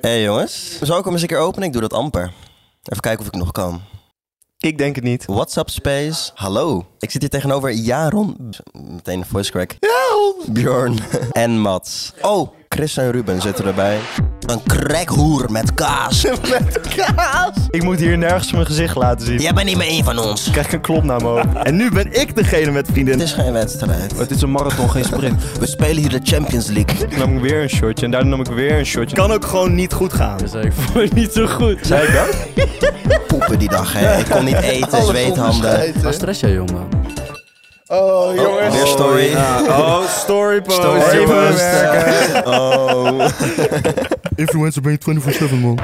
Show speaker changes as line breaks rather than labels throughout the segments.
hey, jongens, zal ik hem eens een keer openen? Ik doe dat amper. Even kijken of ik nog kan.
Ik denk het niet.
WhatsApp Space, hallo. Ik zit hier tegenover Jaron, meteen een voice crack, Bjorn en Mats. Oh, Chris en Ruben zitten erbij. Een crackhoer met kaas.
Met kaas. Ik moet hier nergens mijn gezicht laten zien.
Jij bent niet meer één van ons.
Ik krijg ik een klop naar mijn hoofd. En nu ben ik degene met vrienden.
Het is geen wedstrijd.
Het is een marathon, geen sprint.
We spelen hier de Champions League.
Toen nam ik weer een shotje en daarna nam ik weer een shotje.
Kan ook gewoon niet goed gaan.
Dus ik voel me niet zo goed.
Zei ik dat?
Poepen die dag, hè. Ik kon niet eten, zweethanden.
Waar stress jij, jongen?
Oh, jongens.
Weer story.
Oh, storypost.
Story
jongens.
post. Oh.
Influencer ben je 24-7, man.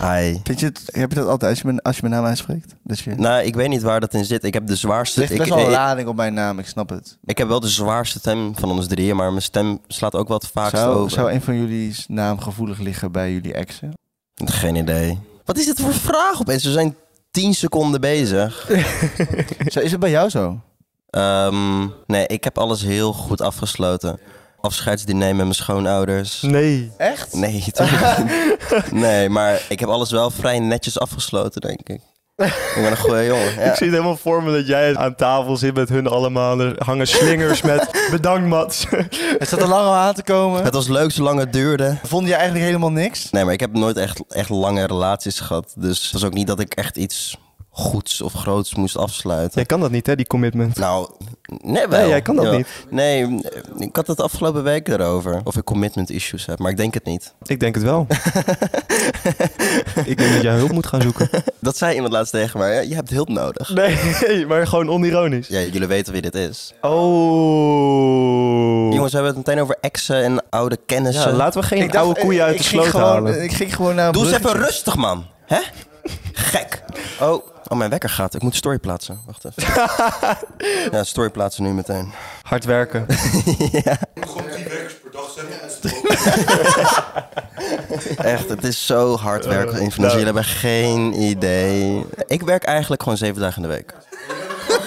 Ai.
Vind je het, heb je dat altijd als je mijn, als je mijn naam uitspreekt? Dat je...
Nou, ik weet niet waar dat in zit. Ik heb de zwaarste...
Er ligt
Ik,
best wel
ik,
lading op mijn naam, ik snap het.
ik heb wel de zwaarste stem van ons drieën, maar mijn stem slaat ook wat vaak
Zou,
over.
zou een van jullie naam gevoelig liggen bij jullie exen?
Geen idee. Wat is dit voor vraag opeens? We zijn 10 seconden bezig.
Zo, is het bij jou zo?
Ehm, nee, ik heb alles heel goed afgesloten. Afscheidsdiner met mijn schoonouders.
Nee.
Echt?
Nee, natuurlijk niet. nee, maar ik heb alles wel vrij netjes afgesloten, denk ik. Ik ben een goede jongen. Ja.
Ik zie het helemaal voor me dat jij aan tafel zit met hun allemaal. Er hangen slingers met bedankt Mats.
Het zat er lang al aan te komen.
Het was leuk zolang het duurde.
Vond je eigenlijk helemaal niks?
Nee, maar ik heb nooit echt, echt lange relaties gehad. Dus het was ook niet dat ik echt iets goeds of groots moest afsluiten.
jij kan dat niet hè, die commitment.
Nou, nee wel.
Nee, jij kan dat
Ja.
niet.
Nee, ik had het afgelopen week erover. Of ik commitment issues heb, maar ik denk het niet.
Ik denk het wel. ik denk dat jij hulp moet gaan zoeken.
Dat zei iemand laatst tegen mij. ja, Je hebt hulp nodig.
Nee, maar gewoon onironisch.
Ja, jullie weten wie dit is.
Oh.
Jongens, we hebben het meteen over exen en oude kennissen.
Ja, laten we geen
Ik dacht,
oude koeien
eh,
uit
ik
de
ging
sloot
gewoon,
halen.
Ik ging gewoon naar een
Doe eens even
bruggetje.
rustig, man. Hè? Gek. Oh, oh, mijn wekker gaat. Ik moet story plaatsen. Wacht even. ja, story plaatsen nu meteen.
Hard werken.
Echt, het is zo hard werken. in
Eh, nou.
financiën. Jullie hebben geen idee. Ik werk eigenlijk gewoon zeven dagen in de week.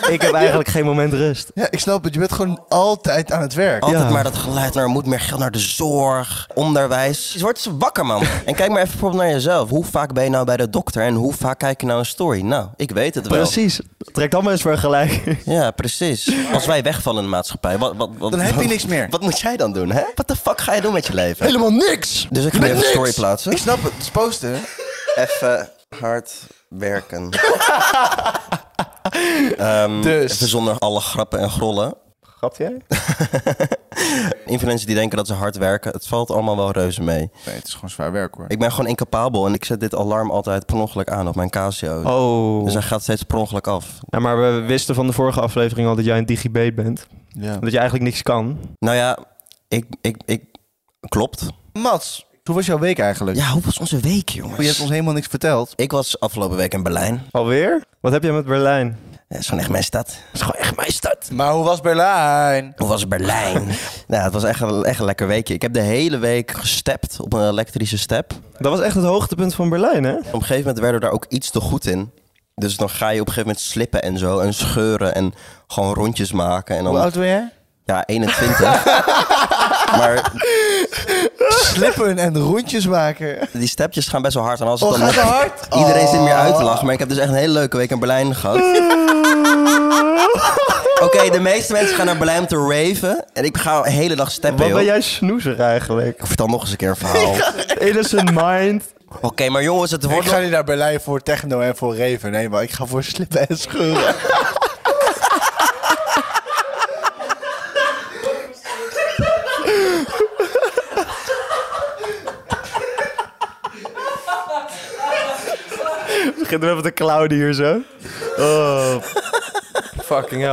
ik heb eigenlijk geen moment rust.
Ja, ik snap het. Je bent gewoon altijd aan het werk.
Altijd
Ja.
maar dat geluid naar er moet meer geld naar de zorg, onderwijs. Je wordt dus wakker, man. en kijk maar even bijvoorbeeld naar jezelf. Hoe vaak ben je nou bij de dokter en hoe vaak kijk je nou een story? Nou, ik weet het wel.
Precies. Trek dan maar eens vergelijk.
Ja, precies. Als wij wegvallen in de maatschappij, wat, wat, wat,
Dan heb je
wat-
niks meer.
Wat moet jij dan doen, hè? Wat de fuck ga je doen met je leven?
Helemaal niks!
Dus ik
Je
ga
bent
even een
niks.
story plaatsen.
Ik snap het. Het is posten.
Even hard werken. Ehm,
Dus.
Even zonder alle grappen en grollen.
Grapt jij?
Influencers die denken dat ze hard werken, het valt allemaal wel reuze mee.
Nee, het is gewoon zwaar werk hoor.
Ik ben gewoon incapabel en ik zet dit alarm altijd per ongeluk aan op mijn Casio.
Oh.
Dus hij gaat steeds per ongeluk af.
Ja, maar we wisten van de vorige aflevering al dat jij een digibet bent.
Ja.
Dat je eigenlijk niks kan.
Nou ja, ik... ik, ik klopt.
Mats, hoe was jouw week eigenlijk?
Ja, hoe was onze week,
Je hebt
jongens?
ons helemaal niks verteld.
Ik was afgelopen week in Berlijn.
Alweer? Wat heb jij met Berlijn?
Dat is gewoon echt mijn stad. Dat is gewoon echt mijn stad.
Maar hoe was Berlijn?
Hoe was Berlijn? nou, het was echt een, echt een lekker weekje. Ik heb de hele week gestept op een elektrische step.
Dat was echt het hoogtepunt van Berlijn, hè?
Op een gegeven moment werden we daar ook iets te goed in. Dus dan ga je op een gegeven moment slippen en zo. En scheuren en gewoon rondjes maken. En dan,
Hoe oud ben jij?
Ja, 21. maar
Slippen en rondjes maken.
die stepjes gaan best wel hard. En als het
Oh,
dan
gaat het hard?
Iedereen zit meer uit te
Oh.
lachen. Maar ik heb dus echt een hele leuke week in Berlijn gehad. Oké, de meeste mensen gaan naar Berlijn om te raven. En ik ga de hele dag steppen,
Wat ben
joh.
jij snoezer eigenlijk?
Ik vertel nog eens een keer een verhaal.
Innocent mind.
Oké, maar jongens, het
Ik
wordt
ga niet naar Berlijn voor techno en voor reven. Nee, maar ik ga voor slippen en scheuren.
Begint we even te clouden hier zo. Oh. Fucking hell.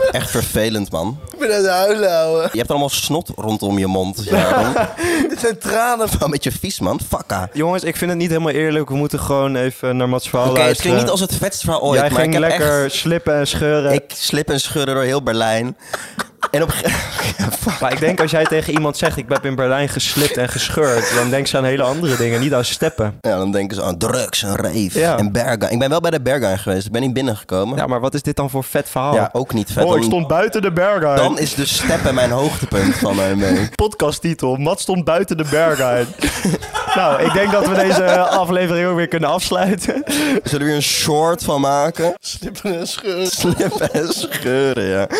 nog echt vervelend, man.
Ik ben aan het huilen, ouwe.
Je hebt allemaal snot rondom je mond. Ja,
Dit zijn tranen.
een beetje vies, man. ah. Fakka.
Jongens, ik vind het niet helemaal eerlijk. We moeten gewoon even naar Mats verhaal
Oké, het
luisteren.
klinkt niet als het vetste verhaal ooit,
Jij
maar ik
ging
heb
lekker
echt...
slippen en scheuren.
Ik slip en scheuren door heel Berlijn. En op... een ge- Ja, fuck.
Maar ik denk als jij tegen iemand zegt, ik heb in Berlijn geslipt en gescheurd, dan denkt ze aan hele andere dingen, niet aan steppen.
Ja, dan denken ze aan drugs en rave
Ja.
en Berghain. Ik ben wel bij de Berghain geweest. Ik ben niet binnengekomen.
Ja, maar wat is dit dan voor vet verhaal?
Ja, ook niet vet.
oh, ik
Dan-
stond buiten de Berghain.
Dan is dus steppen mijn hoogtepunt van mijn week.
Podcasttitel, Mat stond buiten de Berghain. nou, ik denk dat we deze aflevering ook weer kunnen afsluiten.
Zullen we hier een short van maken?
Slippen en scheuren.
Slippen en scheuren, ja.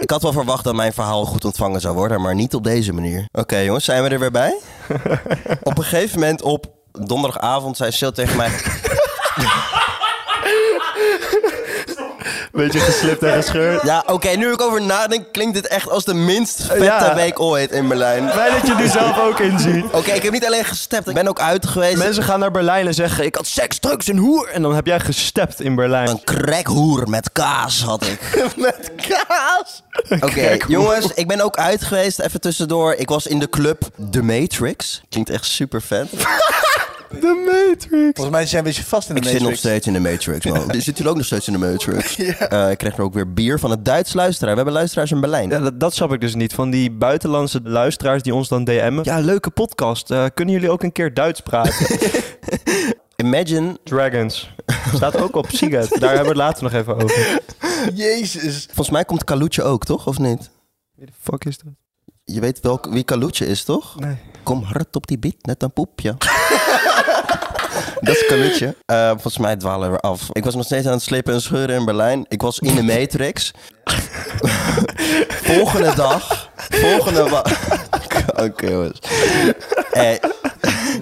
Ik had wel verwacht dat mijn verhaal goed ontvangen zou worden, maar niet op deze manier. Oké jongens, zijn we er weer bij? op een gegeven moment op donderdagavond zei Sil tegen mij...
Beetje geslipt en gescheurd.
Ja, oké, nu ik over nadenk, klinkt dit echt als de minst vette
Ja.
week ooit in Berlijn. Oké,
Fijn dat je het nu zelf ook inziet.
ik heb niet alleen gestept, ik ben ook uit geweest.
Mensen gaan naar Berlijn en zeggen, ik had seks, drugs en hoer. En dan heb jij gestept in Berlijn.
Een crackhoer met kaas had ik.
Met kaas.
Oké, jongens, ik ben ook uit geweest, even tussendoor. Ik was in de club The Matrix. Klinkt echt super vet.
De Matrix.
Volgens mij zijn we een beetje vast in de
Ik zit nog
Matrix.
steeds in de Matrix, man. Je zit jullie ook nog steeds in de Matrix. Eh, ik kreeg er ook weer bier van het Duits luisteraar. We hebben luisteraars in Berlijn.
Ja, dat, dat snap ik dus niet. Van die buitenlandse luisteraars die ons dan DM'en. Ja, leuke podcast. Eh, kunnen jullie ook een keer Duits praten?
Imagine,
Dragons. Staat ook op Siget. Daar hebben we het later nog even over. Wie
Jezus.
volgens mij komt Kaluutje ook, toch? Of niet?
de fuck is dat?
Je weet wel wie Kaluutje is, toch?
Nee.
Kom hard op die beat, net een poepje. Dat is Kaluutje. Eh, volgens mij dwalen we af. Ik was nog steeds aan het slippen en scheuren in Berlijn. Ik was in de Matrix. volgende dag. Volgende wa- Oké, jongens. Eh,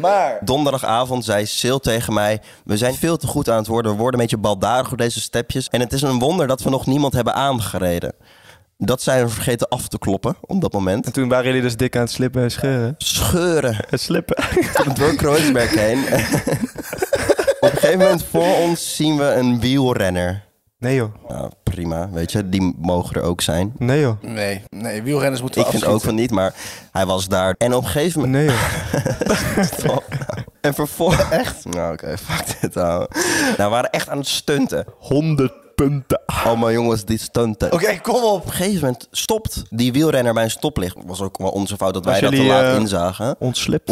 Maar.
Donderdagavond zei Sil tegen mij: We zijn veel te goed aan het worden. We worden een beetje baldadig door deze stepjes. En het is een wonder dat we nog niemand hebben aangereden. Dat zijn we vergeten af te kloppen op dat moment.
En toen waren jullie dus dik aan het slippen en scheuren.
Scheuren
En slippen.
door Kreuzberg heen. op een gegeven moment voor ons zien we een wielrenner.
Nee joh.
Nou, prima, weet je, die mogen er ook zijn.
Nee joh.
Nee, nee, wielrenners moeten
Ik
we
vind ook
afschieten.
van niet, maar hij was daar. En op een gegeven moment.
Nee joh.
En vervolgens. Echt? Nou, oké, fuck dit, ouwe. Nou, we waren echt aan het stunten.
100 punten.
Oh, maar jongens, die stunten.
Oké, kom op.
Op een gegeven moment stopt die wielrenner bij een stoplicht. Was ook wel onze fout dat wij
Als
dat te
jullie,
laat
eh,
inzagen.
Ontslip.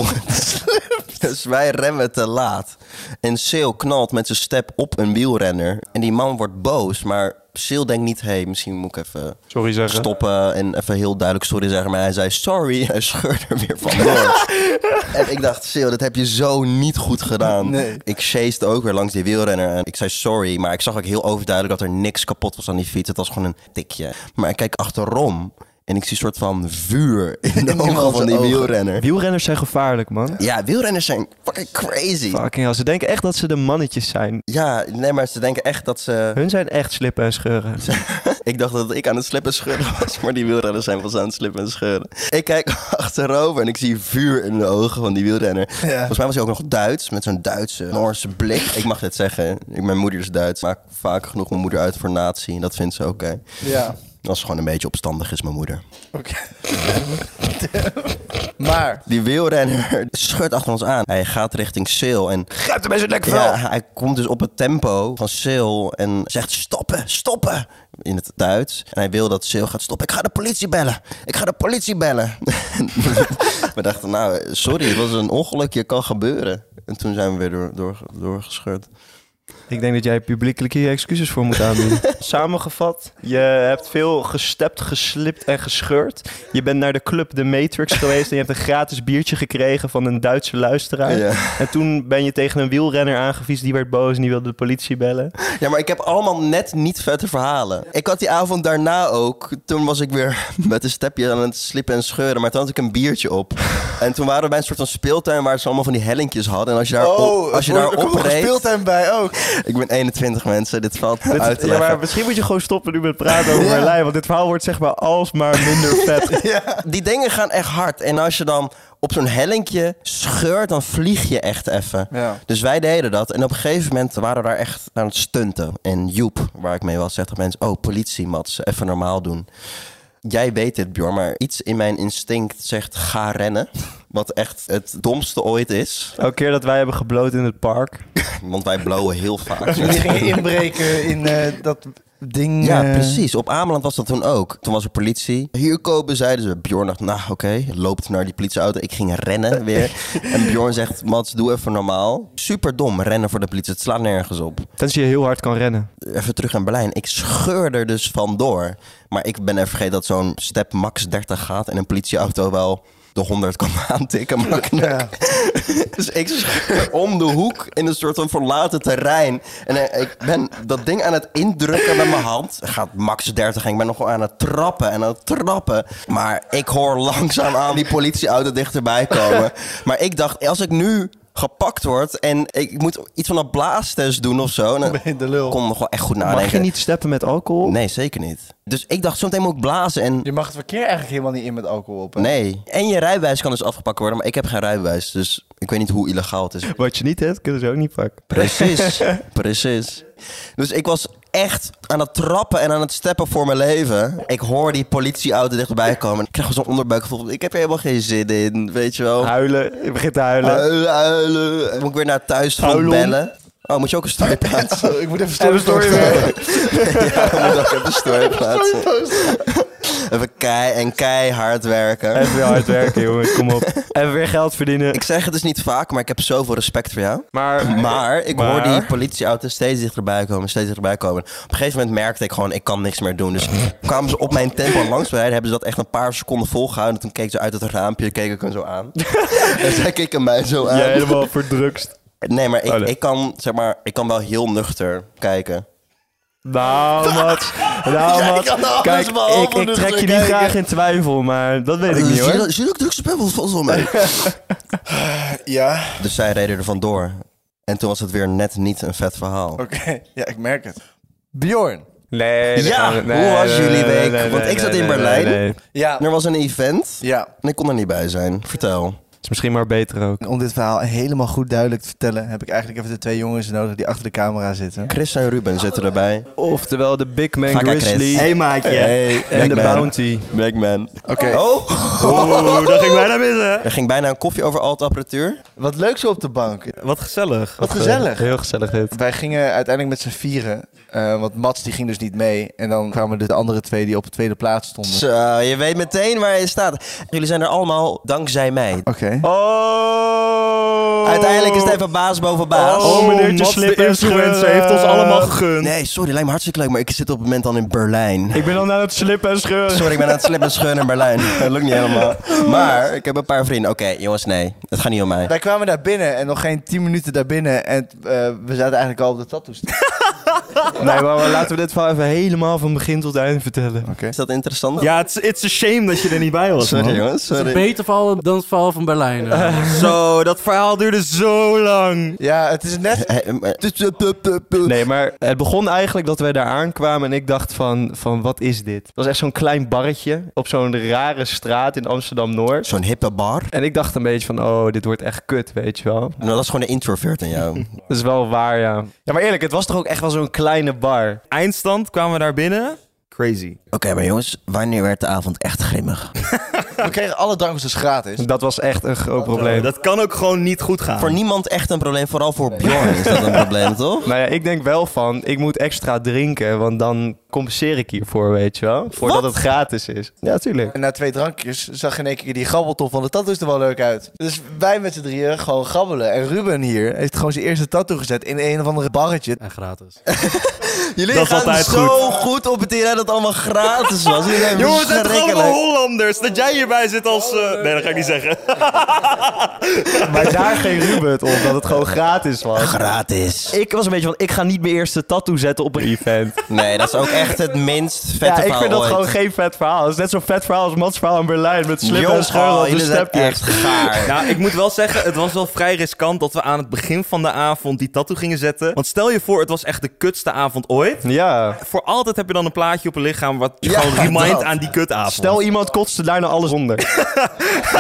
Dus wij remmen te laat. En Sil knalt met zijn step op een wielrenner. En die man wordt boos, maar Sil denkt niet... hé, hey, misschien moet ik even
Sorry zeggen.
stoppen en even heel duidelijk sorry zeggen. Maar hij zei sorry en scheurde er weer van door. en ik dacht, Sil, dat heb je zo niet goed gedaan.
Nee.
Ik chased ook weer langs die wielrenner en ik zei sorry. Maar ik zag ook heel overduidelijk dat er niks kapot was aan die fiets. Het was gewoon een tikje. Maar ik kijk achterom en ik zie een soort van vuur in de ogen
iemands
van die
ogen.
wielrenner.
Wielrenners zijn gevaarlijk man.
Ja, wielrenners zijn fucking crazy.
Fucking hell. Ze denken echt dat ze de mannetjes zijn.
Ja, nee, maar ze denken echt dat ze...
Hun zijn echt slippen en scheuren.
Ik dacht dat ik aan het slippen scheuren was, maar die wielrenners zijn pas aan het slippen en scheuren. Ik kijk achterover en ik zie vuur in de ogen van die wielrenner. Volgens mij was hij ook nog Duits, met zo'n Duitse, Noorse blik. Ik mag dit zeggen, ik, mijn moeder is Duits. Ik maak vaak genoeg mijn moeder uit voor nazi en dat vindt ze oké.
Ja,
Als ze gewoon een beetje opstandig is, mijn moeder.
oké. maar.
Die wielrenner scheurt achter ons aan. Hij gaat richting Sil en
Grijp de mensen lekker
Ja, hij komt dus op het tempo van Sil en zegt stoppen, stoppen in het Duits. En hij wil dat Sil gaat stoppen. Ik ga de politie bellen. Ik ga de politie bellen. we dachten, nou, sorry, het was een ongelukje, kan gebeuren. En toen zijn we weer door, door, doorgescheurd.
Ik denk dat jij publiekelijk hier excuses voor moet aanbieden. Samengevat, je hebt veel gestept, geslipt en gescheurd. Je bent naar de club The Matrix geweest en je hebt een gratis biertje gekregen van een Duitse luisteraar.
Ja.
En toen ben je tegen een wielrenner aangevies, die werd boos en die wilde de politie bellen.
Ja, maar ik heb allemaal net niet vette verhalen. Ik had die avond daarna ook. Toen was ik weer met een stepje aan het slippen en scheuren. Maar toen had ik een biertje op. En toen waren we bij een soort van speeltuin waar ze allemaal van die hellinkjes hadden. En als je daar, op, als je daar
er komt nog een
opreed-
Oh, speeltuin bij ook.
Ik ben 21 mensen, dit valt
Dit-
uit te
ja,
leggen.
maar misschien moet je gewoon stoppen nu met praten over Berlijn, want dit verhaal wordt zeg maar alsmaar minder vet.
Die dingen gaan echt hard. En als je dan op zo'n hellinkje scheurt, dan vlieg je echt even.
Ja.
Dus wij deden dat. En op een gegeven moment waren we daar echt aan het stunten. En Joep, waar ik mee was, zegt op mensen... Oh, politie, Mats, even normaal doen. Jij weet dit, Bjorn, maar iets in mijn instinct zegt ga rennen. Wat echt het domste ooit is.
Elke keer dat wij hebben gebloot in het park.
Want wij blowen heel vaak.
Jullie gingen inbreken in eh, dat ding...
Ja,
eh,
precies. Op Ameland was dat toen ook. Toen was er politie. Hier kopen, zeiden ze. Bjorn dacht, nou oké, loopt naar die politieauto. Ik ging rennen weer. en Bjorn zegt, Mats, doe even normaal. Super dom, rennen voor de politie. Het slaat nergens op.
Tenzij je heel hard kan rennen.
Even terug aan Berlijn. Ik scheur er dus vandoor. Maar ik ben even vergeten dat zo'n step max 30 gaat... en een politieauto wel de 100 kan aantikken. Maar
Ja.
Dus ik scheur om de hoek in een soort van verlaten terrein. En eh, ik ben dat ding aan het indrukken met mijn hand. Gaat max 30 en ik ben nog wel aan het trappen en aan het trappen. Maar ik hoor langzaam aan die politieauto dichterbij komen. Maar ik dacht, als ik nu gepakt word en ik moet iets van een blaastest doen of zo... Dan
Ben je de lul.
kon ik nog wel echt goed nadenken.
Mag je niet steppen met alcohol?
Nee, zeker niet. Dus ik dacht, zometeen moet ik blazen en...
Je mag het verkeer eigenlijk helemaal niet in met alcohol op. hè?
Nee. En je rijbewijs kan dus afgepakt worden, maar ik heb geen rijbewijs. Dus ik weet niet hoe illegaal het is.
Wat je niet hebt, kunnen ze ook niet pakken.
Precies, precies. Dus ik was echt aan het trappen en aan het steppen voor mijn leven. Ik hoor die politieauto dichterbij komen. Ik krijg zo'n onderbuikgevoel. Ik heb er helemaal geen zin in, weet je wel.
Huilen, je begint te huilen.
Huilen, huilen. Moet ik weer naar thuis van
Huilon.
bellen? Oh, moet je ook een story plaatsen?
Ik moet even story
story
plaatsen.
ja, dan moet ik ook een story plaatsen. Even kei en keihard werken.
Even weer hard werken, jongen. Kom op. Even weer geld verdienen.
Ik zeg het dus niet vaak, maar ik heb zoveel respect voor jou.
Maar,
Maar ik
Maar-
hoor die politieauto steeds dichterbij komen, steeds dichterbij komen. Op een gegeven moment merkte ik gewoon, ik kan niks meer doen. Dus kwamen ze op mijn tempo langs rijden, hebben ze dat echt een paar seconden volgehouden. En toen keek ze uit het raampje, keek ik hem zo aan. en zij keken mij zo aan.
jij helemaal verdrukst.
Nee, maar ik,
Oh, nee.
ik kan, zeg maar, ik kan wel heel nuchter kijken.
Nou, Mats. Nou,
Jij
Mats.
kan alles
Kijk,
behalve
ik, ik
nuchter
trek je niet
kijken.
graag in twijfel, maar dat weet ik niet,
Zie je
hoor.
dat- Zie je dat ik drugs op heb? Wat valt wel mee?
Ja,
dus zij reden er vandoor. En toen was het weer net niet een vet verhaal.
oké. Ja, ik merk het. Bjorn.
Nee.
Ja, hoe was jullie week? Want ik zat in Berlijn.
Ja.
Er was een event
Ja.
en ik kon er niet bij zijn. Vertel.
Is misschien maar beter ook.
Om dit verhaal helemaal goed duidelijk te vertellen... heb ik eigenlijk even de twee jongens nodig die achter de camera zitten.
Chris en Ruben zitten erbij.
Oftewel de Big Man
Vaak aan
Grizzly.
Chris.
maatje.
Big
en de
Man.
Bounty.
Black man.
Oké.
Oh!
Oeh, dat ging bijna missen.
Er ging bijna een koffie over al het apparatuur.
Wat leuk zo op de bank.
Wat gezellig.
Wat gezellig.
Heel gezellig dit.
Wij gingen uiteindelijk met z'n vieren. eh, want Mats die ging dus niet mee. En dan kwamen de andere twee die op de tweede plaats stonden.
Zo, je weet meteen waar je staat. Jullie zijn er allemaal dankzij mij.
Oké.
Oh!
Uiteindelijk is het even baas boven baas.
Oh, meneertje
Mats,
Slip
de influencer heeft ons allemaal gegund.
Nee, sorry, lijkt me hartstikke leuk, maar ik zit op het moment dan in Berlijn.
Ik ben al aan het slippen en scheuren.
Sorry, ik ben aan het slippen scheuren in Berlijn. Dat lukt niet helemaal. Maar ik heb een paar vrienden. Oké, jongens, nee. Het gaat niet om mij.
Wij kwamen daar binnen en nog geen 10 minuten daar binnen. En eh, we zaten eigenlijk al op de tattoos.
Nee, maar laten we dit verhaal even helemaal van begin tot eind vertellen.
Is dat interessant?
Ja, it's, it's a shame dat je er niet bij was,
Sorry,
man.
jongens. Sorry.
Beter verhaal dan het verhaal van Berlijn. eh. hè.
Eh,
Zo, dat verhaal duurde zo lang.
Ja, het is net.
Eh, eh, eh,
Nee, maar het begon eigenlijk dat wij daar aankwamen en ik dacht van, van wat is dit? Dat was echt zo'n klein barretje op zo'n rare straat in Amsterdam-Noord.
Zo'n hippe bar.
En ik dacht een beetje van, oh, dit wordt echt kut, weet je wel.
Nou, dat is gewoon een introvert in jou.
Dat is wel waar, ja. Ja, maar eerlijk, het was toch ook echt wel zo'n kleine bar.
Eindstand kwamen we daar binnen. Crazy.
Oké, maar jongens, wanneer werd de avond echt grimmig?
We kregen alle dankbaars gratis.
Dat was echt een groot probleem.
Dat kan ook gewoon niet goed gaan.
Voor niemand echt een probleem, vooral voor Bjorn is dat een probleem, toch?
Nou ja, ik denk wel van, ik moet extra drinken, want dan compenseer ik hiervoor, weet je wel. Voordat het gratis is. Ja, tuurlijk.
En na twee drankjes zag in één keer die grabbelton van de tattoos er wel leuk uit. Dus wij met z'n drieën gewoon grabbelen. En Ruben hier heeft gewoon zijn eerste tattoo gezet in een of andere barretje.
En gratis.
Jullie
Dat is
gaan
altijd
zo goed. op het idee dat het allemaal gratis was. Jullie zijn
Jongens, het zijn gewoon
verschrikkelijk.
Hollanders. Dat jij hierbij zit als... eh, Nee, dat ga ik niet zeggen.
Maar daar ging Ruben het om, dat het gewoon gratis was.
Gratis.
Ik was een beetje van, ik ga niet mijn eerste tattoo zetten op een event.
Nee, dat is ook echt het minst vette
ja, ik
verhaal
vind dat
ooit.
gewoon geen vet verhaal. Het is net zo'n vet verhaal als Mats verhaal in Berlijn met slip en
Jongens,
scheuren
oh,
op de
jullie zijn
stepjes.
echt gaar.
Nou, ik moet wel zeggen, het was wel vrij riskant dat we aan het begin van de avond die tattoo gingen zetten. Want stel je voor, het was echt de kutste avond ooit.
Ja.
Voor altijd heb je dan een plaatje op je lichaam wat je
Ja,
gewoon remindt
dat.
aan die kutavond.
Stel iemand kotste daarna alles onder.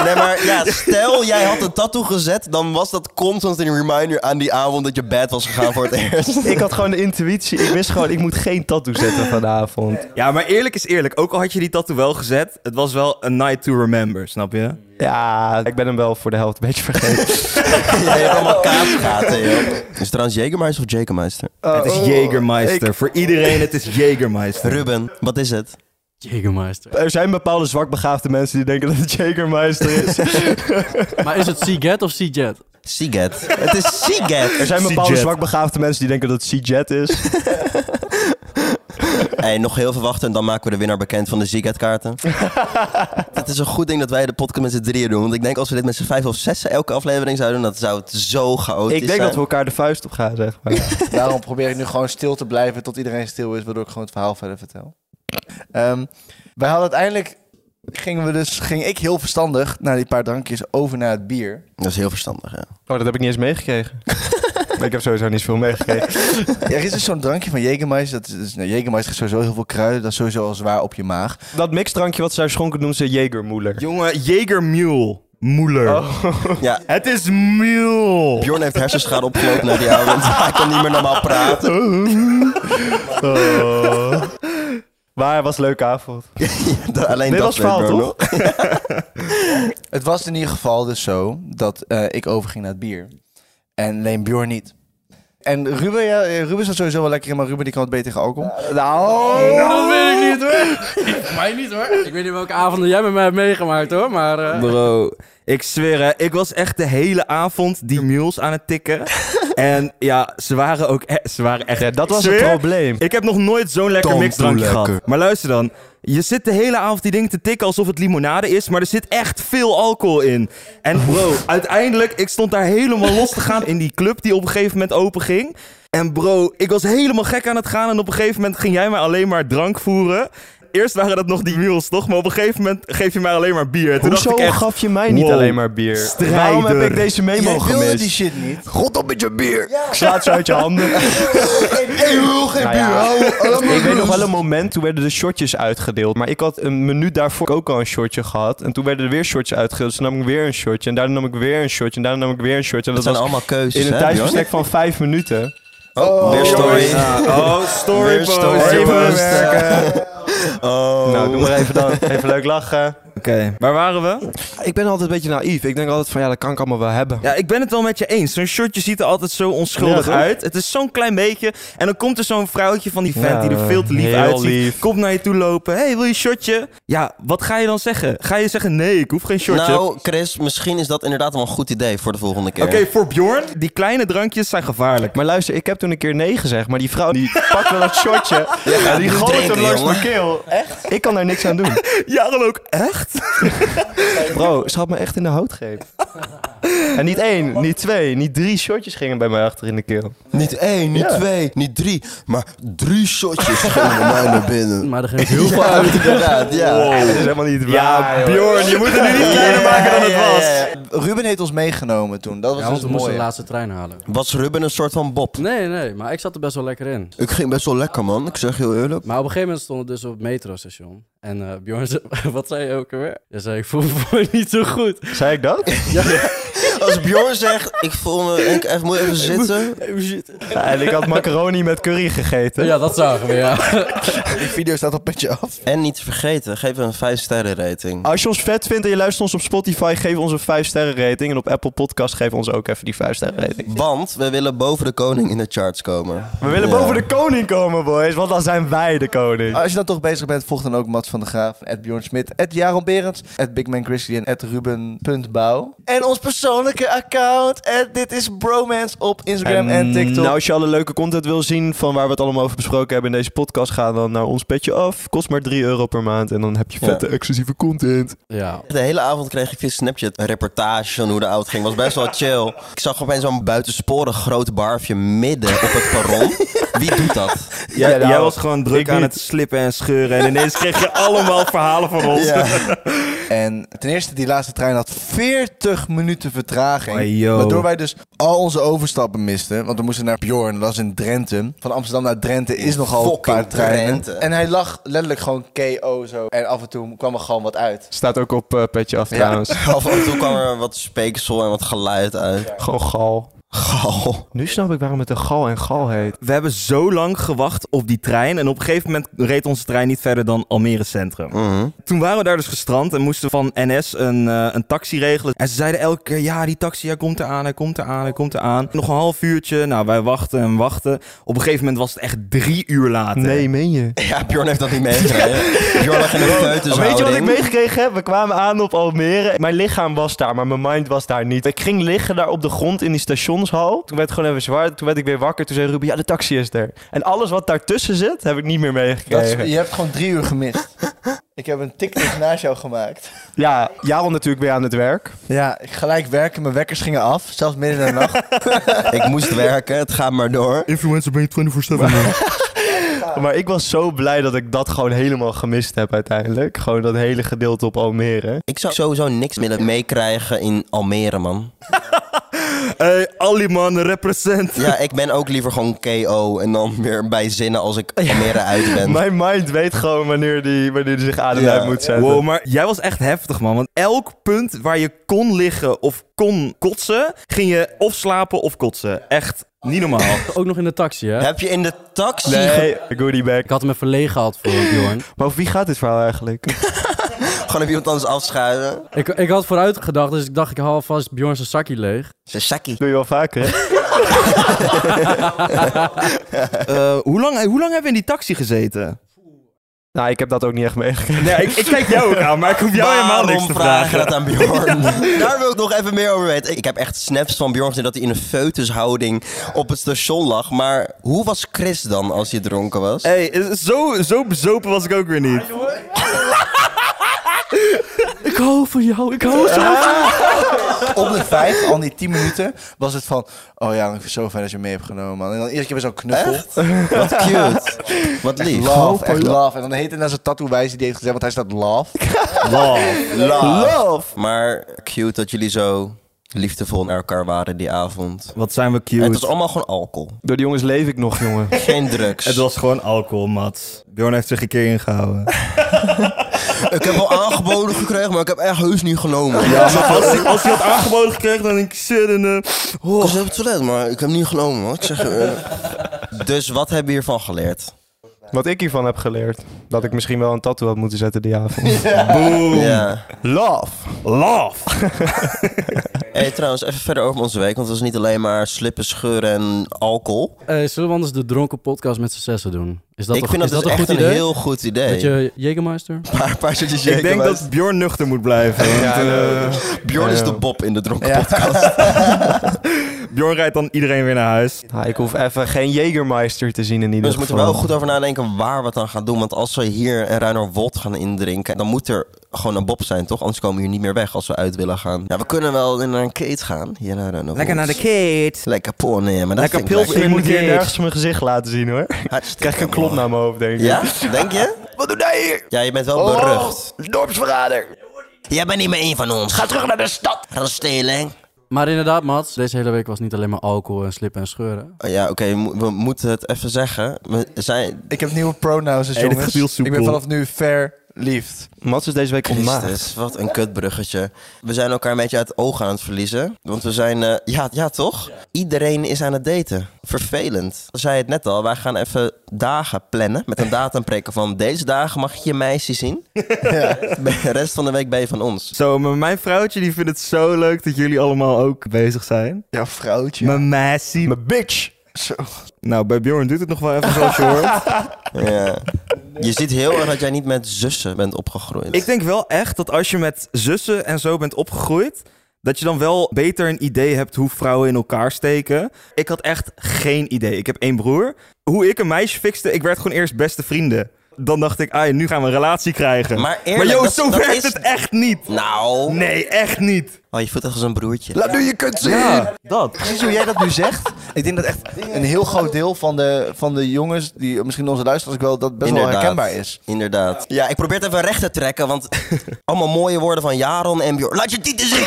Nee, maar ja, stel jij had een tattoo gezet, dan was dat constant een reminder aan die avond dat je bed was gegaan voor het eerst.
ik had gewoon de intuïtie, ik wist gewoon, ik moet geen tattoo zetten van de avond.
Ja, maar eerlijk is eerlijk. Ook al had je die tattoo wel gezet, het was wel een night to remember, snap je?
Ja, ik ben hem wel voor de helft een beetje vergeten.
Ja, je hebt allemaal kaasgaten, joh. Is het trouwens Jägermeister of Jägermeister?
Oh.
Oh,
het is Jägermeister. Voor iedereen, het is Jägermeister.
Ruben, wat is het?
Jägermeister.
Er zijn bepaalde zwakbegaafde mensen die denken dat het Jägermeister is.
Maar is het Seagat of Seajet?
Seagat. Het is
Er
Seagat.
zijn bepaalde
C-Jet.
zwakbegaafde mensen die denken dat het C-Jet is.
Hey, nog heel veel wachten en dan maken we de winnaar bekend van de Seagat kaarten. het is een goed ding dat wij de podcast met z'n drieën doen. Want ik denk als we dit met z'n vijf of zes elke aflevering zouden doen, dat zou het zo chaotisch zijn.
ik denk dat we elkaar de vuist op gaan, zeg maar.
Daarom probeer ik nu gewoon stil te blijven tot iedereen stil is, waardoor ik gewoon het verhaal verder vertel. Ehm, wij hadden uiteindelijk, gingen we dus, ging ik heel verstandig na die paar drankjes over naar het bier.
Dat is heel verstandig, ja.
Oh, dat heb ik niet eens meegekregen. ik heb sowieso niet zoveel meegekregen.
Er is dus zo'n drankje van Jägermeister. Dat is, dus, nou, Jägermeister is sowieso heel veel kruiden. Dat is sowieso al zwaar op je maag.
Dat mixdrankje wat ze daar schonken noemen ze Jägermoeler.
Jongen, Jägermule. Moeler.
ja.
Het is mule.
Bjorn heeft hersenschade opgelopen na die avond. Hij kan niet meer normaal praten.
Maar het was een leuke avond.
Alleen
Dit
dat
was het verhaal,
weet Bjorn nog.
toch?
Het was in ieder geval dus zo dat eh, ik overging naar het bier. En alleen Bjorn niet. En Ruben, ja, eh, Ruben zat sowieso wel lekker in, maar Ruben die kan wat beter tegen alcohol. Nou,
Dat weet ik niet hoor. Mij niet hoor. Ik weet niet welke avonden jij met mij hebt meegemaakt hoor, maar... eh,
Bro, ik zweer hè, ik was echt de hele avond die mules aan het tikken. en ja, ze waren ook e- ze waren echt...
Ja, dat was
Ik
het
zweer,
probleem.
Ik heb nog nooit zo'n lekker
Dan
mixdrankje
doe lekker.
gehad. Maar luister dan, je zit de hele avond die ding te tikken alsof het limonade is, maar er zit echt veel alcohol in. En bro, uiteindelijk, ik stond daar helemaal los te gaan in die club die op een gegeven moment open ging. En bro, ik was helemaal gek aan het gaan en op een gegeven moment ging jij mij alleen maar drank voeren. Eerst waren dat nog die mules, toch? Maar op een gegeven moment geef je mij alleen maar bier. Toen dacht
Hoezo
ik echt,
gaf je mij niet
wow,
alleen maar bier?
strijder.
Waarom heb ik deze memo
jij wilde die
gemist?
shit niet.
God op met je bier.
Ik slaat ze uit je handen.
Ik wil geen
Nou ja.
bier.
Ik weet nog wel een moment, toen werden de shotjes uitgedeeld. Maar ik had een minuut daarvoor ook al een shotje gehad. En toen werden er weer shotjes uitgedeeld. Dus toen nam ik weer een shotje. En daarna nam ik weer een shotje. En daarna nam ik weer een shotje. En
Dat zijn
dat, was
allemaal keuzes,
in een
hè,
tijdsbestek van vijf minuten.
Bjorn? Oh, weer story.
Ja, oh, story
Weer
post.
story
Hey,
post.
post.
Oh.
Nou, doe maar even dan. Even leuk lachen.
Oké, waar waren we?
Ik ben altijd een beetje naïef. Ik denk altijd van, ja, dat kan ik allemaal wel hebben.
Ja, ik ben het wel met je eens. Zo'n shirtje ziet er altijd zo onschuldig
Ja, toch?
uit. Het is zo'n klein beetje. En dan komt er zo'n vrouwtje van die vent
Ja,
die er veel te lief
heel
uitziet.
lief.
Komt naar je toe lopen. hey, wil je een shirtje? Ja, wat ga je dan zeggen? Ga je zeggen, nee, ik hoef geen shirtje?
Nou, Chris, misschien is dat inderdaad wel een goed idee voor de volgende keer.
Oké, voor Bjorn, die kleine drankjes zijn gevaarlijk.
Maar luister, ik heb toen een keer nee gezegd. Maar die vrouw, die pakt wel dat shotje. en die
niet
gooit hem
drinken,
langs
jongen.
mijn keel. Echt? Ik kan daar niks aan doen.
Jaren ook, echt?
Bro, ze had me echt in de houtgreep. En niet één, niet twee, niet drie shotjes gingen bij mij achter in de keel.
Niet één, niet twee, niet drie, maar drie shotjes gingen mij naar binnen.
Maar er ging heel veel...
Ja, inderdaad, ja.
Dat is helemaal niet waar.
Ja,
joh.
Bjorn, je moet het nu niet kleiner maken dan het was.
Ruben heeft ons meegenomen toen. Dat was
Ja, want
dus
we
het
moesten de
mooie.
laatste trein halen.
Was Ruben een soort van Bob?
Nee, nee, maar ik zat er best wel lekker in.
Ik ging best wel lekker, man. Ik zeg heel eerlijk.
Maar op een gegeven moment stonden we dus op het metrostation. En eh, Bjorn zei, wat zei je ook alweer? Hij zei, ik voel me gewoon niet zo goed.
Zei ik dat?
Als Bjorn zegt, ik voel me... Ik even, moet even zitten.
Oh, shit.
Ja, en ik had macaroni met curry gegeten.
Ja, dat zagen we, ja.
Die video staat op petje af.
En niet te vergeten, geef een 5 sterren rating.
Als je ons vet vindt en je luistert ons op Spotify, geef ons een 5 sterren rating. En op Apple Podcast geef ons ook even die 5 sterren rating.
Want we willen boven de koning in de charts komen.
We willen boven de koning komen, boys, want dan zijn wij de koning.
Als je dan toch bezig bent, volg dan ook Mats van der Graaf, Ed Bjorn Smit, Ed Jaron Berends, Ed Bigman Christie en Ed Ruben.bouw. En ons persoonlijke account, Ed Dit is Bromance op Instagram en, TikTok.
Nou, als je alle leuke content wil zien van waar we het allemaal over besproken hebben in deze podcast, ga dan naar ons petje af. Kost maar 3 euro per maand en dan heb je vette exclusieve content.
Ja,
De hele avond kreeg ik via Snapchat een reportage van hoe de oud ging. Was best wel chill. Ik zag opeens zo'n buitensporig groot barfje midden op het perron. Wie doet dat?
Jij,
Ja, nou,
jij was gewoon druk
ik
aan
niet.
het slippen en scheuren. En ineens kreeg je allemaal verhalen van ons.
En ten eerste, die laatste trein had 40 minuten vertraging.
Oh, yo.
waardoor wij dus al onze overstappen misten. Want we moesten naar Bjorn, dat is in Drenthe. Van Amsterdam naar Drenthe is nogal een
Fucking
paar treinen.
Drenthe.
En hij lag letterlijk gewoon KO zo. En af en toe kwam er gewoon wat uit.
Staat ook op eh, petje af trouwens.
Af en toe kwam er wat speeksel en wat geluid uit.
Gewoon gal.
Gal.
Nu snap ik waarom het een gal en gal heet.
We hebben zo lang gewacht op die trein. En op een gegeven moment reed onze trein niet verder dan Almere Centrum.
Mhm.
Toen waren we daar dus gestrand en moesten van NS een, eh, een taxi regelen. En ze zeiden elke keer, ja, die taxi, hij komt eraan, hij komt eraan, hij komt eraan. Nog een half uurtje, nou, wij wachten en wachten. Op een gegeven moment was het echt drie uur later.
Nee, meen je?
Ja, Bjorn heeft dat niet meegekregen. Bjorn lag in een
Dus
kleutershouding.
Weet je wat ik meegekregen heb? We kwamen aan op Almere. Mijn lichaam was daar, maar mijn mind was daar niet. Ik ging liggen daar op de grond in die stationshal. Toen werd het gewoon even zwaar. Toen werd ik weer wakker. Toen zei Ruben, ja, de taxi is er. En alles wat daartussen zit, heb ik niet meer
Dat is-
meegekregen.
je hebt gewoon drie uur gemist. ik heb een TikTok naast jou gemaakt.
Ja, Jaron natuurlijk weer aan het werk.
Ja, ik gelijk werken, mijn wekkers gingen af, zelfs midden in de nacht.
Ik moest werken, het gaat maar door.
Influencer ben je 24-7. man.
Maar ik was zo blij dat ik dat gewoon helemaal gemist heb uiteindelijk. Gewoon dat hele gedeelte op Almere.
Ik zou sowieso niks willen meekrijgen in Almere, man.
hey, Ali man, represent.
Ja, ik ben ook liever gewoon KO en dan weer bij zinnen als ik Almere uit ben.
Mijn mind weet gewoon wanneer die, wanneer die zich aan en
Ja.
uit moet zetten.
Wow, maar jij was echt heftig, man. Want elk punt waar je kon liggen of kon kotsen, ging je of slapen of kotsen. Echt niet normaal.
Ook nog in de taxi, hè?
Heb je in de taxi... ge-
Nee, goodie bag.
Ik had hem even leeg gehad voor Bjorn.
Maar over wie gaat dit verhaal eigenlijk?
Gewoon op iemand anders afschuiven?
Ik, ik had vooruit gedacht, dus ik dacht ik haal vast Bjorn zijn zakje leeg.
Sasaki.
doe je wel vaker, hè?
Eh, hoe, lang, hoe lang hebben we in die taxi gezeten?
Nou, ik heb dat ook niet echt meegekregen.
Nee, ik, ik kijk jou ook aan, maar ik hoef jou helemaal
Waarom
niks te
vragen
vragen.
dat aan Bjorn? Daar wil ik nog even meer over weten. Ik heb echt snaps van Bjorn gezien dat hij in een feutushouding op het station lag. Maar hoe was Chris dan als hij dronken was?
Eh,
Hé, hey, zo, zo bezopen was ik ook weer niet.
Ik hou van jou, ik hou zo
Op de vijf, al die tien minuten, was het van... Oh ja, ik vind het zo fijn dat je me mee hebt genomen, man. En dan eerst keer weer zo'n knuffel.
Wat cute. Wat lief.
Love, echt love. En dan heet het naar zijn tattoo wijzen die heeft gezegd, want hij staat love.
Wow.
Ah.
Love. Maar cute dat jullie zo liefdevol naar elkaar waren die avond.
Wat zijn we cute.
En het was allemaal gewoon alcohol.
Door die jongens leef ik nog, jongen.
Geen drugs.
gewoon alcohol, Mats. Bjorn heeft zich een keer ingehouden.
Ik heb wel aangeboden gekregen, maar ik heb echt heus niet genomen.
Ja, maar als, hij- als hij had aangeboden gekregen, dan denk ik shit en... eh,
Ik was op het toilet, maar ik heb niet genomen. hoor. Ik zeg, eh. Dus wat hebben we hiervan geleerd?
Wat ik hiervan heb geleerd. Dat ik misschien wel een tattoo had moeten zetten die avond.
Boom.
Ja.
Love. Love.
hey, trouwens, even verder over onze week. Want het was niet alleen maar slippen, scheuren en alcohol.
Eh, zullen we anders de dronken podcast met z'n zessen doen? Is dat
ik
een-
vind
is
dat,
dat
dus
een
echt
goed
een
idee?
heel goed idee.
Dat je Jägermeister?
Een paar, paar shotjes
Ik denk
Jägermeister.
dat Bjorn nuchter moet blijven. want, eh,
Bjorn is de Bob in de dronken podcast.
Bjorn rijdt dan iedereen weer naar huis.
Nou, ik hoef even geen Jägermeister te zien in
Dus
ieder
we
geval.
moeten er wel goed over nadenken waar we het dan gaan doen. Want als we hier een Reiner Wold gaan indrinken, dan moet er gewoon een Bob zijn, toch? Anders komen we hier niet meer weg als we uit willen gaan. Ja, we kunnen wel in een Kate gaan. Hier naar Reiner Wold.
kid.
Lekker porno, maar dat
Lekker
vind ik
pilsje.
Ik moet hier
Indeed.
nergens mijn gezicht laten zien, hoor. Ik
Hartstikke
krijg een klop
mooi.
naar mijn hoofd, denk ik.
Ja? Denk je? Wat doe jij hier? Ja, je bent wel berucht. Dorpsverrader. Jij bent niet meer een van ons. Ga terug naar de stad. Rasteling.
Maar inderdaad, Mats, deze hele week was niet alleen maar alcohol en slippen en scheuren.
Oh, ja, oké, we mo- we moeten het even zeggen. We zijn...
Ik heb nieuwe pronouns, dus
Hey, dit
jongens.
gebiel soepel.
Ik ben vanaf nu fair liefd.
Mats is deze week ontmaagd.
Christus, wat een kutbruggetje. We zijn elkaar een beetje uit het oog aan het verliezen. Want we zijn... eh, ja, ja, toch? Iedereen is aan het daten. Vervelend. Ik zei het net al, wij gaan even dagen plannen. Met een datum prikken van deze dagen mag je je meisje zien. De rest van de week ben je van ons.
Zo, maar mijn vrouwtje die vindt het zo leuk dat jullie allemaal ook bezig zijn.
Ja, vrouwtje.
Mijn meisje.
Mijn bitch.
Zo.
Nou, bij Bjorn doet het nog wel even zoals je hoort.
Ja. Je ziet heel erg dat jij niet met zussen bent opgegroeid.
Ik denk wel echt dat als je met zussen en zo bent opgegroeid... dat je dan wel beter een idee hebt hoe vrouwen in elkaar steken. Ik had echt geen idee. Ik heb één broer. Hoe ik een meisje fixte, ik werd gewoon eerst beste vrienden. Dan dacht ik, ah, nu gaan we een relatie krijgen.
Maar eerlijk,
joh,
dat-
zo
dat
werkt
is-
het echt niet.
Nou.
Nee, echt niet.
Oh, je voelt echt als een broertje.
Laat nu je kunt zien.
Ja,
dat. Precies hoe jij dat nu zegt. Ik denk dat echt een heel groot deel van de, van de jongens, die misschien onze luisteraars ook wel, dat best wel herkenbaar is.
Inderdaad. Ja, ik probeer het even recht te trekken, want allemaal mooie woorden van Jaron en Bjorn. Laat je tieten zien!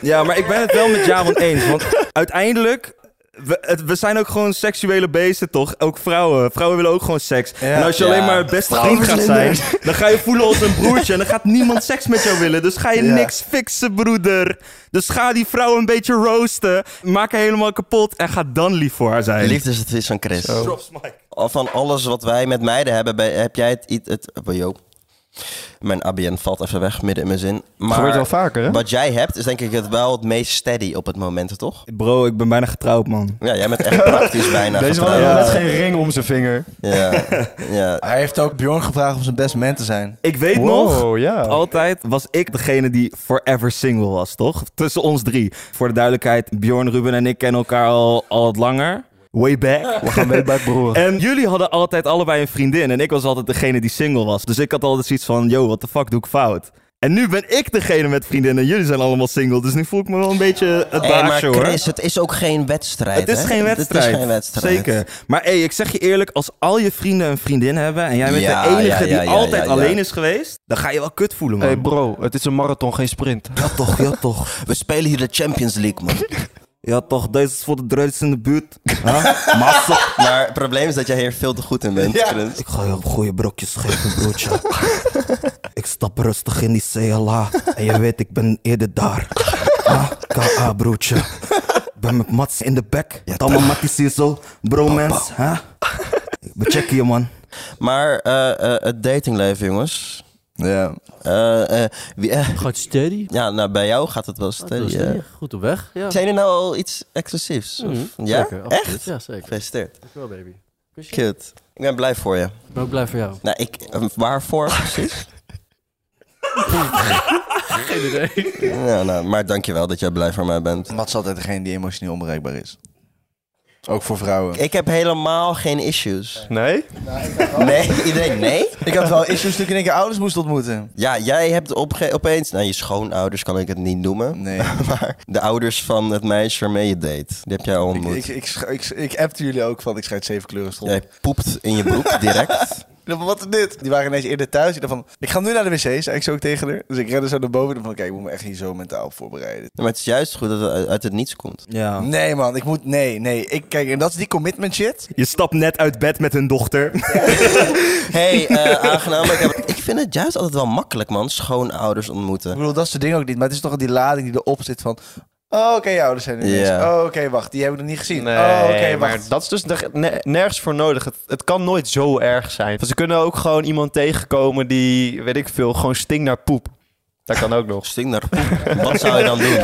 Ja, maar ik ben het wel met Javon eens. Want uiteindelijk We, het- we zijn ook gewoon seksuele beesten, toch? Ook vrouwen. Vrouwen willen ook gewoon seks. en als je
Ja.
alleen maar het beste
Vrouwen
vriend gaat zijn,
zijn
dan ga je voelen als een broertje. En dan gaat niemand seks met jou willen. Dus ga je
Ja.
niks fixen, broeder. Dus ga die vrouw een beetje roosten. Maak haar helemaal kapot. En ga dan lief voor haar zijn.
Liefdesadvies van Chris.
Drops, Mike.
Al Van alles wat wij met meiden hebben, bij- heb jij het... iets- het bij Joop. Mijn ABN valt even weg, midden in mijn zin. Maar
Gebeurt wel vaker, hè?
wat jij hebt, is denk ik het wel het meest steady op het moment, toch?
Bro, ik ben bijna getrouwd, man.
Ja, jij bent echt praktisch bijna
Deze man
getrouwd.
heeft net geen ring om zijn vinger.
Ja, ja.
Hij heeft ook Bjorn gevraagd om zijn best man te zijn.
Ik weet nog,
Wow, ja.
Altijd was ik degene die forever single was, toch? Tussen ons drie. Voor de duidelijkheid, Bjorn, Ruben en ik kennen elkaar al, al wat langer. Way back.
We gaan mee bij het broer.
En jullie hadden altijd allebei een vriendin. En ik was altijd degene die single was. Dus ik had altijd zoiets van, yo, what the fuck doe ik fout? En nu ben ik degene met vriendinnen. En jullie zijn allemaal single. Dus nu voel ik me wel een beetje het
Hey, maar
baasje, hoor.
Chris, het is ook geen wedstrijd.
Het is
hè?
geen wedstrijd.
Het is geen wedstrijd.
Zeker. Maar hey, ik zeg je eerlijk, als al je vrienden een vriendin hebben en jij bent
Ja,
de enige
ja, ja, ja,
die altijd
ja, ja.
alleen is geweest, dan ga je wel kut voelen, man.
Hey bro, het is een marathon, geen sprint.
ja toch, ja toch.
We spelen hier de Champions League, man.
Ja toch, deze is voor de druids in de buurt. Huh? Massa.
maar het probleem is dat jij hier veel te goed in bent, Chris.
Ik ga je goede brokjes geven, broertje. ik stap rustig in die CLA. En je weet, ik ben eerder daar. Ah, KA, broertje. Ik ben met Mats in de bek. Tama Matties hier zo. Bromance, hè? We checken je, man.
Maar eh, eh, het datingleven, jongens.
Ja.
Eh, eh, wie, eh,
Gaat steady.
ja, nou, bij jou gaat het wel
Dat
steady.
was
hè?
steady. Goed op weg. Ja.
Zijn er nou al iets exclusiefs? Of-
Mhm.
ja?
Zeker, absoluut.
Echt?
Ja, zeker.
Gefeliciteerd.
Dankjewel, baby. Kusje.
Cute. Ik ben blij voor je.
Ik ben ook blij voor jou.
Nou, ik, eh, waarvoor precies?
Geen idee.
ja, nou, maar dankjewel dat jij blij voor mij bent.
Mats is altijd degene die emotioneel onbereikbaar is. Ook voor vrouwen.
Ik heb helemaal geen issues.
Nee?
Nee, iedereen, nee?
Ik had wel issues toen ik in één keer ouders moest ontmoeten.
Ja, jij hebt opge- opeens... Nou, je schoonouders kan ik het niet noemen.
Nee.
Maar de ouders van het meisje waarmee je date, die heb jij al
Ik,
ontmoet.
ik, ik, sch- ik, sch- ik appte jullie ook van, ik schrijf zeven kleuren stond.
Jij poept in je broek direct.
Ik dacht van, wat is dit? Die waren ineens eerder thuis. Ik dacht van, ik ga nu naar de wc, zei ik zo ook tegen haar. Dus ik redde zo naar boven. Ik dacht van, kijk, ik moet me echt niet zo mentaal op voorbereiden.
Maar het is juist goed dat het uit- uit het niets komt.
Ja.
Nee man, ik moet, nee, nee. Ik, kijk, en dat is die commitment shit.
Je stapt net uit bed met hun dochter.
hey, eh, aangenaam. Ik, heb- ik vind het juist altijd wel makkelijk, man. Schoonouders
Ik
ontmoeten.
bedoel, dat soort dingen ook niet. Maar het is toch die lading die erop zit van... Oh, oké, je ouders zijn er ineens.
Ja.
Oh, oké, wacht. Die hebben we nog niet gezien. oh, oké, wacht.
maar dat is dus de- ne- nergens voor nodig. Het, het kan nooit zo erg zijn. Want ze kunnen ook gewoon iemand tegenkomen die, weet ik veel, gewoon stinkt naar poep. Dat kan ook nog.
Sting naar poep. Wat zou je dan doen?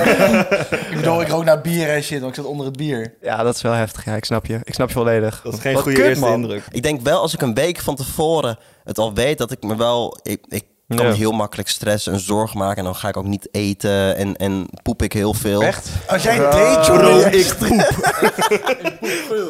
Ik bedoel, ik rook naar bier en shit, want ik zat onder het bier.
Ja, dat is wel heftig. Ja, ik snap je. Ik snap je volledig.
Dat is geen
Wat
goede
kut,
eerste
man.
indruk.
Ik denk wel, als ik een week van tevoren het al weet, dat ik me wel... Ik, ik kan
Ja.
heel makkelijk stress en zorg maken. En dan ga ik ook niet eten en, en poep ik heel veel.
Als jij deed, joh. Ik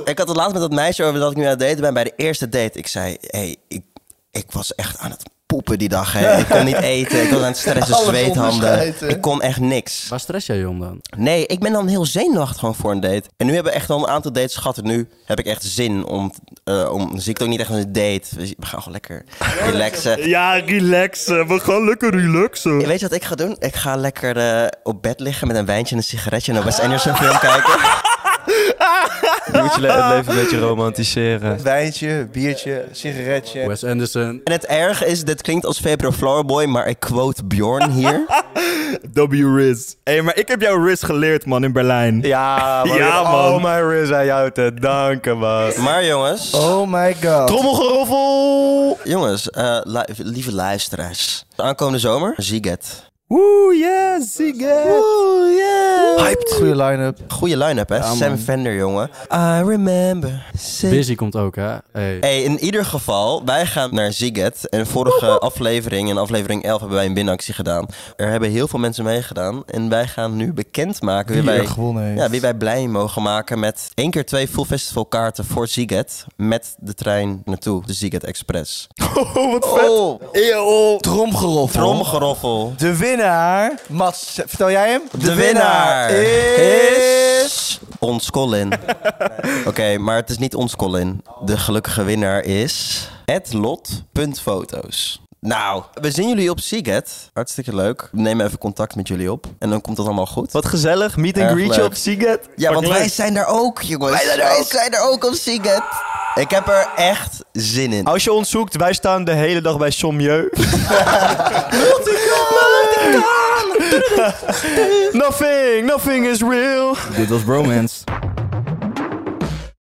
Ik had het laatst met dat meisje over dat ik nu aan het daten ben. Bij de eerste date, ik zei... Hey, ik, ik was echt aan het poepen die dag. Hè. Ik kon niet eten. Ik was aan het stressen,
Alles
zweethanden.
onderscheid, hè?
Ik kon echt niks.
Waar stress jij je om dan?
Nee, ik ben dan heel zenuwachtig gewoon voor een date. En nu hebben we echt al een aantal dates gehad. En nu heb ik echt zin om... eh om dan zie ik het ook niet echt als een date. We we gaan gewoon lekker relaxen.
Ja, relaxen. We gaan lekker relaxen.
Weet je wat ik ga doen? Ik ga lekker eh, op bed liggen met een wijntje en een sigaretje... en op Wes Anderson film kijken.
Je moet je le- het leven een beetje romantiseren.
Wijntje, biertje, sigaretje.
Wes Anderson.
En het erge is, dit klinkt als February Flowerboy... maar ik quote Bjorn hier.
W. Riz. Hé, maar ik heb jouw Riz geleerd, man, in Berlijn.
Ja, man.
Ja, man.
Oh, mijn Riz aan jou te danken, man.
Maar jongens...
Oh my god.
Trommelgeroffel.
Jongens, eh, lu- lieve luisteraars. De aankomende zomer, Ziget.
Woe, yes, Ziget.
Hyped. Goeie line-up.
Goeie line-up, hè? Sam Fender, jongen. I remember. Zig-
Busy komt ook, hè? Hey.
Hey, in ieder geval, wij gaan naar Ziget. En vorige aflevering, in aflevering 11, hebben wij een winactie gedaan. Er hebben heel veel mensen meegedaan. En wij gaan nu bekendmaken wie,
Wie er
wij,
gewonnen heeft.
ja, wie wij blij mogen maken met één keer twee full festival kaarten voor Ziget. Met de trein naartoe, de Ziget Express.
Oh, wat vet. Eeuw. Tromgeroffel.
Tromgeroffel.
De winnaar. Mats, vertel jij hem?
De winnaar
is...
is ons Colin. Oké, maar het is niet ons Colin. De gelukkige winnaar is @lot.foto's. Nou, we zien jullie op Seagate. Hartstikke leuk. We nemen even contact met jullie op. En dan komt dat allemaal goed.
Wat gezellig, meet
Erg
and greetje
leuk.
op Seagate.
Ja, want
Fucking
wij
leuk.
zijn er ook, jongens. Wij zijn er ook, op Seagate. Ik heb er echt zin in.
Als je ons zoekt, wij staan de hele dag bij Sommieu. Nothing, nothing is real.
Dit was Bromance.